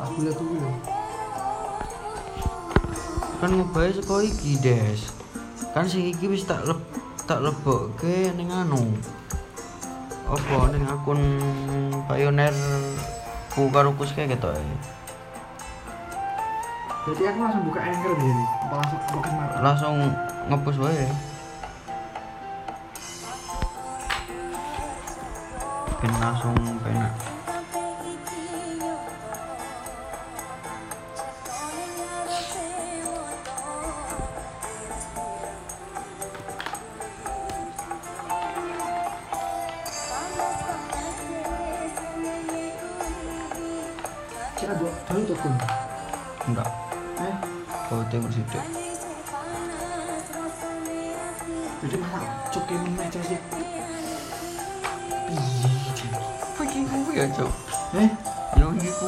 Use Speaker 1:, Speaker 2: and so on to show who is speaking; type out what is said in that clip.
Speaker 1: aku lihat dulu kan ngobae saka iki des kan sing iki wis tak leb tak lebokke ning anu apa ning akun pioneer ku karo kuske gitu ya
Speaker 2: Jadi aku langsung buka anchor gini, apa langsung buka marah.
Speaker 1: langsung ngepus wae ben langsung penak
Speaker 2: Cek ada dulu tuh kun.
Speaker 1: enggak
Speaker 2: Eh,
Speaker 1: kau tengok situ
Speaker 2: jadi malah cuk yang mana cek sih?
Speaker 1: Pagi ku ya cok
Speaker 2: Eh,
Speaker 1: yo iki ku